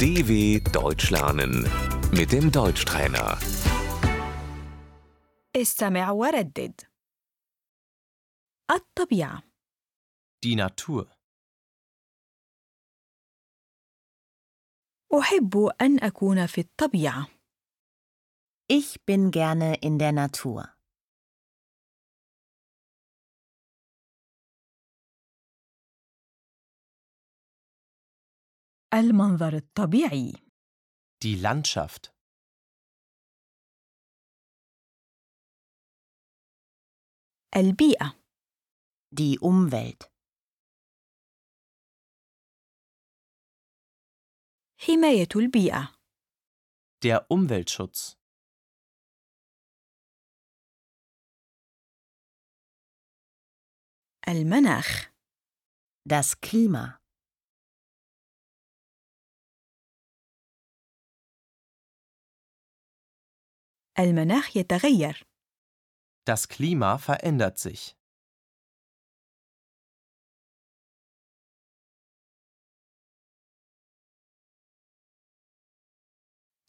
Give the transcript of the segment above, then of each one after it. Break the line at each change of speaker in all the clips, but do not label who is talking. DW Deutsch lernen mit dem Deutschtrainer.
استمع وردد الطبيعة
Die Natur.
أحب أن أكون في الطبيعة
Ich bin gerne in der Natur.
المنظر الطبيعي
Die Landschaft.
البيئة
Die Umwelt.
حماية البيئة
Der Umweltschutz.
المناخ
Das Klima.
المناخ يتغير
Das Klima verändert sich.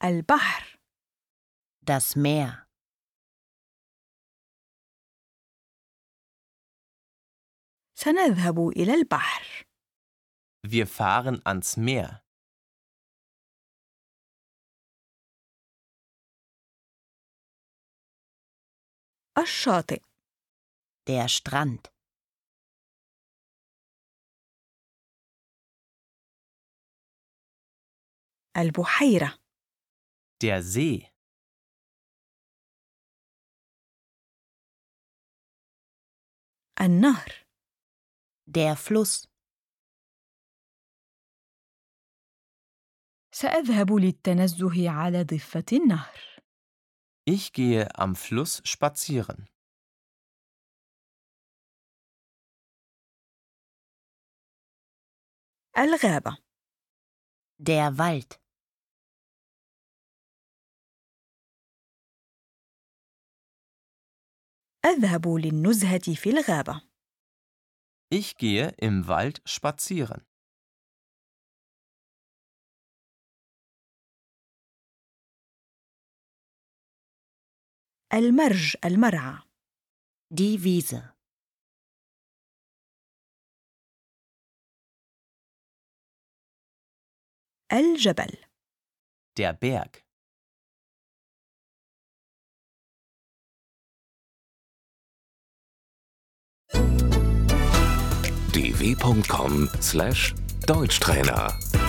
البحر
Das Meer.
سنذهب إلى البحر
Wir fahren ans Meer.
الشاطئ
Der Strand.
البحيرة
Der See.
النهر
Der Fluss.
سأذهب للتنزه على ضفة النهر
Ich gehe am Fluss spazieren.
الغابة
Der Wald.
أذهب للنزهة في الغابة
Ich gehe im Wald spazieren.
المرج المرعى
Die Wiese.
الجبل
Der Berg.
dw.com/deutschtrainer